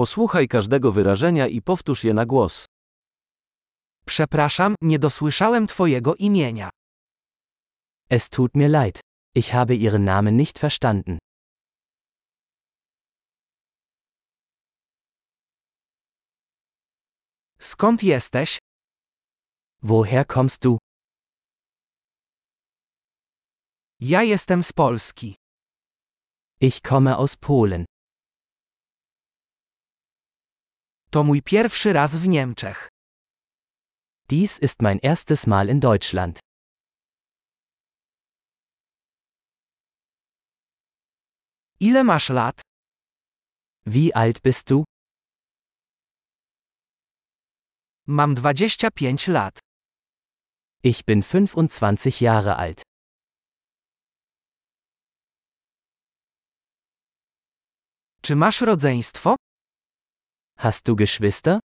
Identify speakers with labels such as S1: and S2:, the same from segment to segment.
S1: Posłuchaj każdego wyrażenia i powtórz je na głos.
S2: Przepraszam, nie dosłyszałem Twojego imienia.
S3: Es tut mir leid. Ich habe Ihren Namen nicht verstanden.
S2: Skąd jesteś?
S3: Woher kommst du?
S2: Ja jestem z Polski.
S3: Ich komme aus Polen.
S2: To mój pierwszy raz w Niemczech.
S3: Dies ist mein erstes Mal in Deutschland.
S2: Ile masz lat?
S3: Wie alt bist du?
S2: Mam 25 lat.
S3: Ich bin 25 Jahre alt.
S2: Czy masz rodzeństwo?
S3: Hast du Geschwister?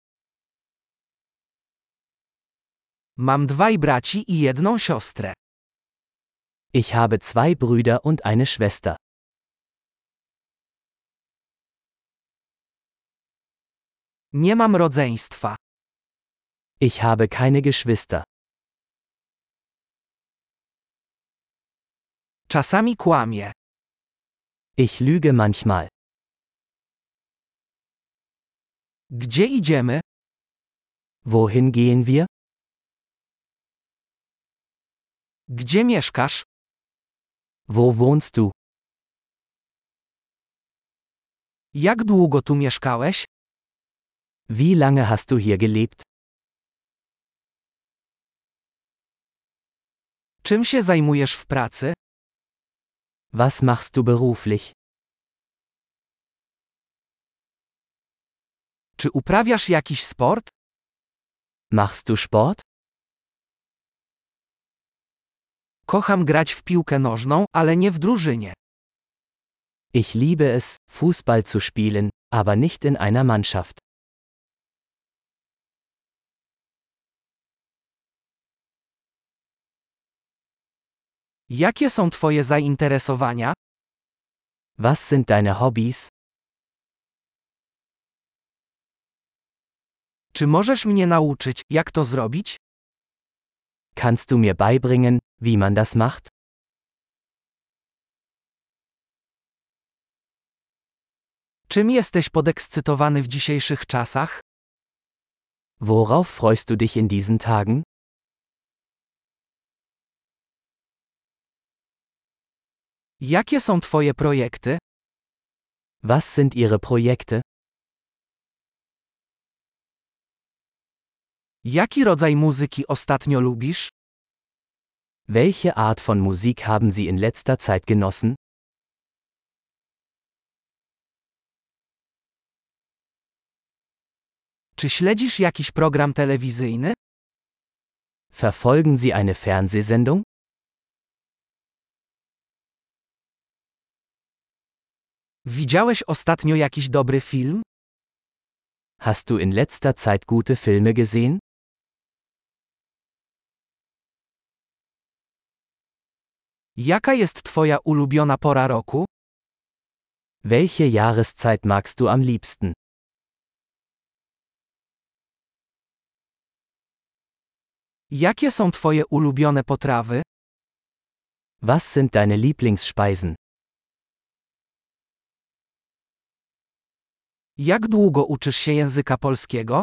S2: Mam dwaj braci i jedną siostrę.
S3: Ich habe zwei Brüder und eine Schwester.
S2: Nie mam rodzeństwa.
S3: Ich habe keine Geschwister.
S2: Czasami kłamie.
S3: Ich lüge manchmal.
S2: Gdzie idziemy?
S3: Wohin gehen wir?
S2: Gdzie mieszkasz?
S3: Wo wohnst du?
S2: Jak długo tu mieszkałeś?
S3: Wie lange hast du hier gelebt?
S2: Czym się zajmujesz w pracy?
S3: Was machst du beruflich?
S2: Czy uprawiasz jakiś sport?
S3: Machst du Sport?
S2: Kocham grać w piłkę nożną, ale nie w drużynie.
S3: Ich liebe es, Fußball zu spielen, aber nicht in einer Mannschaft.
S2: Jakie są Twoje zainteresowania?
S3: Was sind deine Hobbys?
S2: Czy możesz mnie nauczyć, jak to zrobić?
S3: Kannst du mir beibringen, wie man das macht?
S2: Czym jesteś podekscytowany w dzisiejszych czasach?
S3: Worauf freust du dich in diesen Tagen?
S2: Jakie są Twoje projekty?
S3: Was sind ihre Projekte?
S2: Jaki rodzaj muzyki ostatnio lubisz?
S3: Welche Art von Musik haben sie in letzter Zeit genossen?
S2: Czy śledzisz jakiś program telewizyjny?
S3: Verfolgen sie eine Fernsehsendung?
S2: Widziałeś ostatnio jakiś dobry film?
S3: Hast du in letzter Zeit gute Filme gesehen?
S2: Jaka jest Twoja ulubiona pora roku?
S3: Welche Jahreszeit magst du am liebsten?
S2: Jakie są Twoje ulubione potrawy?
S3: Was sind deine Lieblingsspeisen?
S2: Jak długo uczysz się języka polskiego?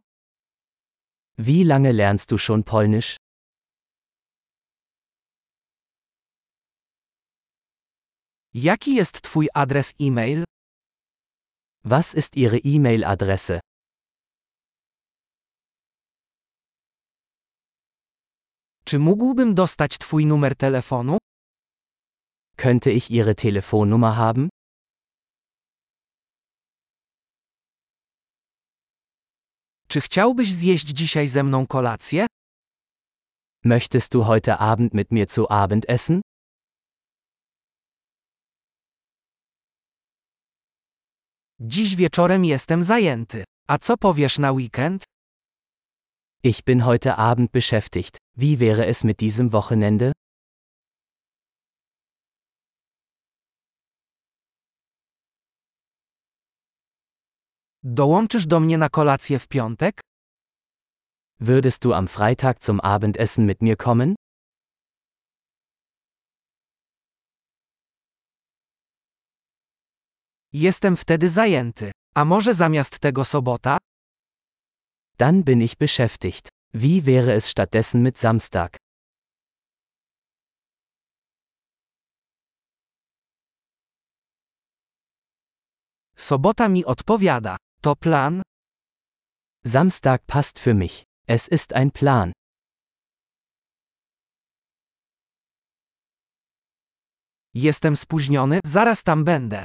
S3: Wie lange lernst du schon Polnisch?
S2: Jaki jest Twój adres e-mail?
S3: Was ist ihre E-Mail-Adresse?
S2: Czy mógłbym dostać Twój numer telefonu?
S3: Könnte ich ihre Telefonnummer haben?
S2: Czy chciałbyś zjeść dzisiaj ze mną kolację?
S3: Möchtest du heute Abend mit mir zu Abend essen?
S2: Dziś wieczorem jestem zajęty. A co powiesz na weekend?
S3: Ich bin heute Abend beschäftigt. Wie wäre es mit diesem Wochenende?
S2: Dołączysz do mnie na kolację w piątek?
S3: Würdest du am Freitag zum Abendessen mit mir kommen?
S2: Jestem wtedy zajęty. A może zamiast tego sobota?
S3: Dann bin ich beschäftigt. Wie wäre es stattdessen mit Samstag?
S2: Sobota mi odpowiada. To plan?
S3: Samstag passt für mich. Es ist ein Plan.
S2: Jestem spóźniony, zaraz tam będę.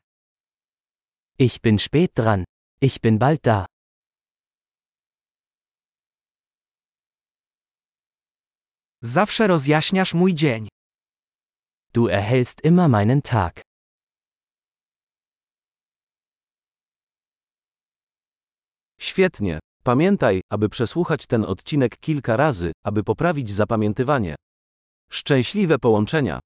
S3: Ich bin spät dran. Ich bin bald da.
S2: Zawsze rozjaśniasz mój dzień.
S3: Du erhältst immer meinen Tag.
S1: Świetnie. Pamiętaj, aby przesłuchać ten odcinek kilka razy, aby poprawić zapamiętywanie. Szczęśliwe połączenia.